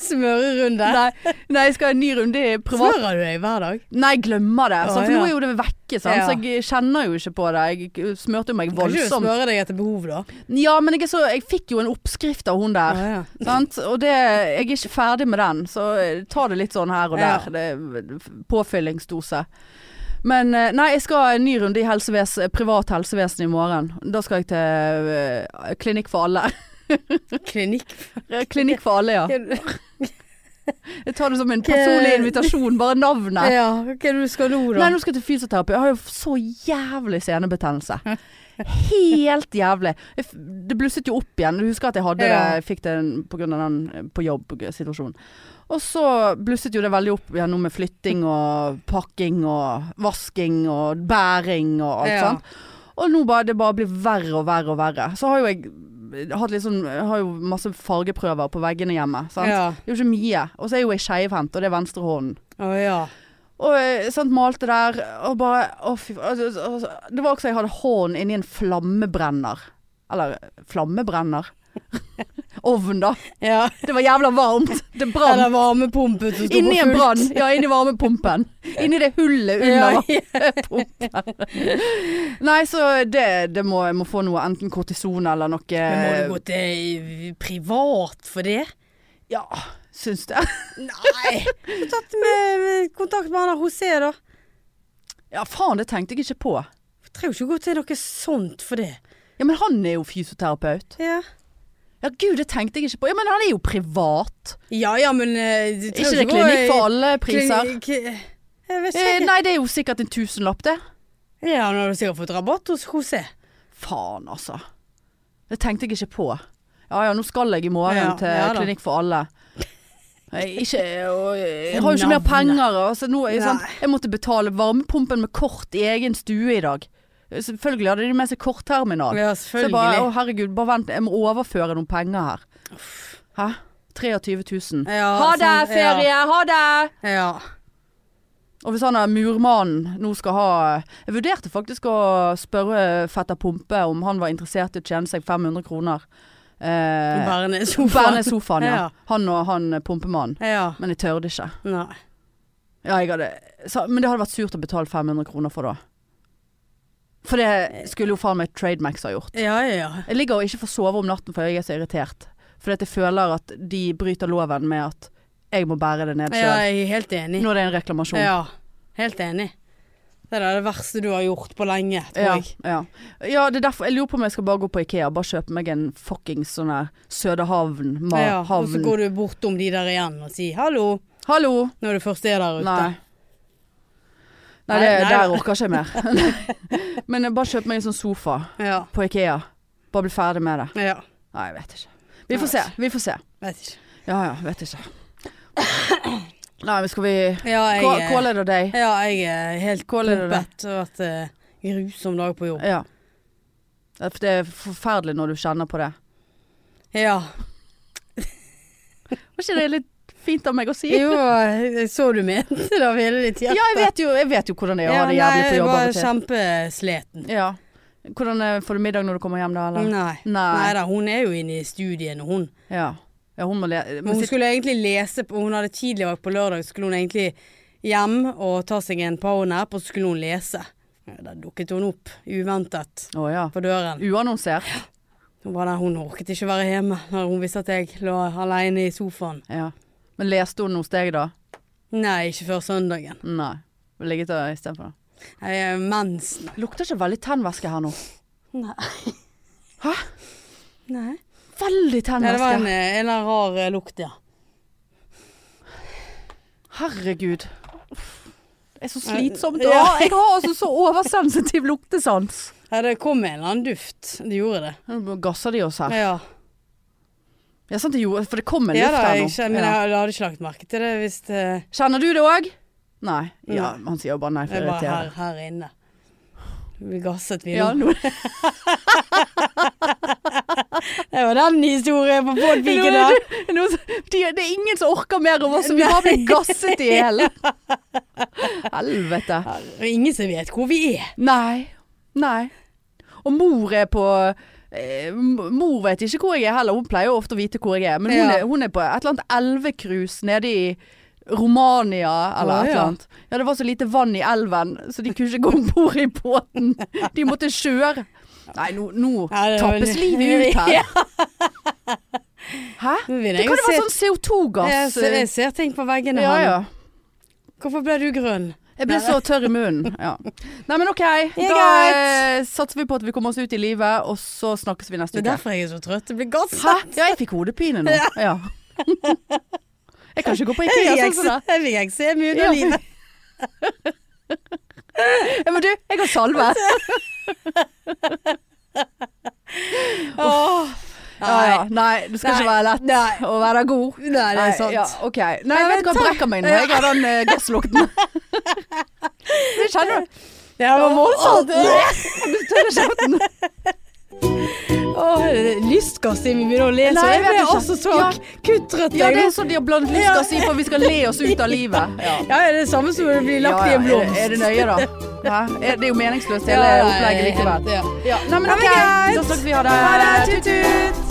B: Smørerunde.
A: Nei, nei, jeg skal ha en ny runde i privat
B: Smører du deg hver dag?
A: Nei, jeg glemmer det.
B: Å,
A: Sant? For nå
B: ja.
A: er jo det vekke, sant?
B: Ja.
A: så jeg kjenner jo ikke på det. Jeg smørte jo meg
B: Kan ikke du
A: voldsomt.
B: smøre deg etter behov, da?
A: Ja, men jeg, er så, jeg fikk jo en oppskrift av hun der.
B: ja.
A: Sant? Og det, jeg er ikke ferdig med den, så ta det litt sånn her og
B: Ja.
A: der. Det er påfyllingsdose. Men eh, nei, jeg skal ha en ny runde i helseves privat helsevesen i morgen. Da skal jeg til eh, Klinikk for alle.
B: Klinikk.
A: Klinikk for alle, ja. Jeg tar det som en personlig invitasjon, bare navnet.
B: Ja, hva er det du skal nå, da?
A: Nei, nå skal jeg til fysioterapi. Jeg har jo så jævlig senebetennelse. Helt jævlig. Jeg f- Det blusset jo opp igjen. Du husker at jeg hadde
B: Ja.
A: det, fikk det på grunn av den eh, på jobb-situasjonen. Og så blusset jo det veldig opp igjen nå med flytting og pakking og vasking og bæring og alt
B: Ja.
A: sånt. Og nå bare, det bare blir verre og verre og verre. Så har jo jeg hatt litt sånn jeg Har jo masse fargeprøver på veggene hjemme. Sant?
B: Ja.
A: Det er jo ikke mye. Og så er jo jeg skeivhendt, og det er venstrehånden.
B: Å ja.
A: Og eh, sant, malte der og bare Å, fy faen. Altså, altså, Det var også jeg hadde hånden inni en flammebrenner. Eller flammebrenner? Ovn, da.
B: ja.
A: Det var jævla varmt. Det brant.
B: Eller varmepumpen som sto på
A: Inni en
B: fullt.
A: brann. Ja, inni varmepumpen. Inni det hullet under.
B: Ja,
A: Nei, så det, det må jeg må få noe. Enten kortison eller noe
B: Men må
A: Eh.
B: du gå til privat for det?
A: Ja, syns det.
B: Nei! Tatt med, med kontakt med han der José, da.
A: Ja, faen, det tenkte jeg ikke på.
B: Jeg trenger jo ikke gå til noe sånt for det.
A: Ja, men han er jo fysioterapeut.
B: Ja
A: Ja, gud, det tenkte jeg ikke på. Ja, men han er jo privat.
B: ja, ja men eh, du
A: Er ikke
B: trenger
A: det
B: gå
A: klinikk
B: i-
A: for alle priser?
B: Klinikk- Jeg vet
A: Eh,
B: ikke.
A: nei, det er jo sikkert en tusenlapp, det.
B: Ja, han har sikkert fått rabatt hos José.
A: Faen, altså. Det tenkte jeg ikke på. Ja ja, nå skal jeg i morgen
B: Ja,
A: til
B: ja da.
A: Klinikk for alle. Jeg, ikke, Eh, og, jeg har jo ikke mer penger. Altså, nå, er jeg, sant? jeg måtte betale varmepumpen med kort i egen stue i dag. Eh, Selvfølgelig hadde de med seg kortterminal.
B: Ja,
A: Så jeg bare å herregud, bare vent, jeg må overføre noen penger her. Hæ? 23 000.
B: Ja,
A: ha det,
B: sant,
A: ferie! Ha det!
B: Ja.
A: Og hvis han er murmannen nå skal ha eh, Jeg vurderte faktisk å spørre fetter Pumpe om han var interessert i å tjene seg 500 kroner.
B: ja.
A: Eh,
B: Bærende
A: Bære
B: sofaen.
A: ned sofaen, ja.
B: Ja.
A: Han og han eh, pumpemannen.
B: Ja.
A: Men jeg tørde ikke.
B: Nei.
A: Ja, jeg hadde, sa- men det hadde vært surt å betale 500 kroner for da. For det skulle jo faen meg Trademax ha gjort.
B: Ja, ja, ja.
A: Jeg ligger og ikke får sove om natten fordi jeg er så irritert. Fordi at jeg føler at de bryter loven med at jeg må bære det ned
B: Ja,
A: sjøl.
B: jeg er helt enig.
A: Nå er det sånn. en reklamasjon.
B: Ja, helt enig. Det er det verste du har gjort på lenge, tror
A: Ja,
B: jeg.
A: ja. ja, det er derfor Jeg lurer på om jeg skal bare gå på Ikea og bare kjøpe meg en fuckings sånn her Sødehavn. Ma,
B: Ja, og så
A: havn.
B: går du bortom de der igjen og sier hallo,
A: Hallo!
B: når du først er der ute.
A: Nei. Nei,
B: Nei,
A: det,
B: nei.
A: der orker jeg ikke mer. Men jeg bare kjøper meg en sånn sofa
B: Ja.
A: på Ikea. Bare bli ferdig med det.
B: ja.
A: Nei, jeg vet ikke. Vi får se. Vi får se.
B: Vet ikke.
A: Ja ja, vet ikke. Nei, men skal vi
B: Ja, jeg, eh,
A: Hva
B: er-
A: hva er det deg?
B: ja, jeg er helt
A: Kål er det
B: pumpet. Det har vært eh, grusom dag på jobb.
A: Ja. Det er forferdelig når du kjenner på det.
B: Ja.
A: Var ikke det litt fint av meg å si?
B: Jo, jeg så du mente det av hele ditt hjerte.
A: Ja, jeg vet jo, jeg vet jo hvordan det er å ha det
B: nei,
A: jævlig på
B: jeg
A: jobb av
B: var
A: og til.
B: kjempesleten.
A: Ja. Hvordan eh, får du middag når du kommer hjem da, eller?
B: Nei. Nei da, hun er jo inne i studiene, hun.
A: Ja. ja, hun må le...
B: Men
A: men
B: hun
A: sitt-
B: skulle egentlig lese på, Hun hadde tidlig vakt på lørdag, så skulle hun egentlig hjem og ta seg en powernap, og så skulle hun lese. Ja, Da dukket hun opp, uventet,
A: Å ja.
B: på døren.
A: Uannonsert.
B: Hun var der, hun orket ikke være hjemme når hun visste at jeg lå alene i sofaen.
A: Ja. Men leste hun hos deg da?
B: Nei, ikke før søndagen. eh,
A: Nei. Ligget der istedenfor. da.
B: Jeg er mensen.
A: Lukter ikke veldig tennvæske her nå.
B: Nei.
A: Hæ?
B: Nei.
A: Veldig
B: Nei, det var
A: tennvæske.
B: en, en eller annen rar eh, lukt, ja.
A: Herregud. Uff. Det er så slitsomt.
B: Ja.
A: Å, jeg har altså så oversensitiv luktesans.
B: Ja, det kom en eller annen duft. Det gjorde det.
A: Nå gasser de oss her.
B: Ja,
A: Ja, sant, det gjorde, for det kom en
B: ja
A: luft
B: da,
A: her
B: jeg,
A: nå.
B: skjø- men
A: Ja.
B: jeg, jeg hadde ikke lagt merke til det hvis eh, det
A: Kjenner du det òg? Nei. Ja,
B: Nei.
A: han sier jo bare nei for
B: Jeg
A: å
B: bare
A: irritere.
B: her, her inne. Vi gasset, vi
A: Ja, nå
B: nå. Det var den historien på podpiken,
A: Nå er
B: da.
A: det- nå er det- de, det er ingen som orker mer av oss, så vi har blitt gasset i hjel. Helvete.
B: Her- Ingen som vet hvor vi er.
A: Nei. Nei. Og mor er på eh, m- Mor vet ikke hvor jeg er heller, hun pleier jo ofte å vite hvor jeg er. Men hun,
B: Ja.
A: er, hun er på et eller annet elvecruise nede i Romania eller
B: Å,
A: et
B: ja.
A: eller annet. Ja, det var så lite vann i elven, så de kunne ikke gå om bord i båten. De måtte kjøre. Nei, nå, nå
B: Ja, det var-
A: tappes livet ut
B: Ja.
A: her. Hæ?
B: Men
A: Det
B: vil jeg
A: kan jo
B: se-
A: være sånn
B: Jeg
A: CO2-gass. eh,
B: ser, jeg ser ting på veggene
A: Ja, ja.
B: han. Hvorfor ble du grønn?
A: Jeg ble så tørr i munnen. Ja. Nei, men OK.
B: er
A: Da
B: greit.
A: eh, satser vi på at vi kommer oss ut i livet, og så snakkes vi
B: Det
A: neste
B: er
A: uke.
B: derfor jeg er så trøtt. Det blir godt
A: Hæ?
B: sagt.
A: Ja, jeg fikk hodepine nå. Ja. Jeg kan ikke gå på IKEA
B: Jeg
A: sånn som det.
B: fikk eksem i
A: Ja.
B: underlivet.
A: Ja, men du, jeg har salve.
B: Åh.
A: Ja, ja. Nei, det skal ikke være lett å være god.
B: Nei, det er sant.
A: Ja, ok. Nei, jeg vet ikke hva jeg brekker meg når jeg har den eh, gasslukten. Det kjenner du.
B: Det var voldsomt.
A: Åh, Du tør ikke kjeften.
B: Åh, Lystgass i munnen og le
A: Nei,
B: så.
A: jeg
B: Jeg
A: vet
B: ble
A: ikke.
B: også så
A: Ja.
B: kuttrøtt.
A: Ja,
B: jeg.
A: det er sånn de har blandet lystgass i for vi skal le oss ut av livet. Ja.
B: Ja, det er det samme som å bli lagt i en
A: Ja, ja, er-
B: blomst.
A: Er det nøye, da? Hæ? Er- Det er jo meningsløst hele
B: Ja, ja, ja,
A: opplegget likevel.
B: ja.
A: Ja, nei, men
B: Ja, men
A: ok,
B: greit.
A: da snakkes vi. Ha
B: Ha
A: det.
B: det, tut-tut.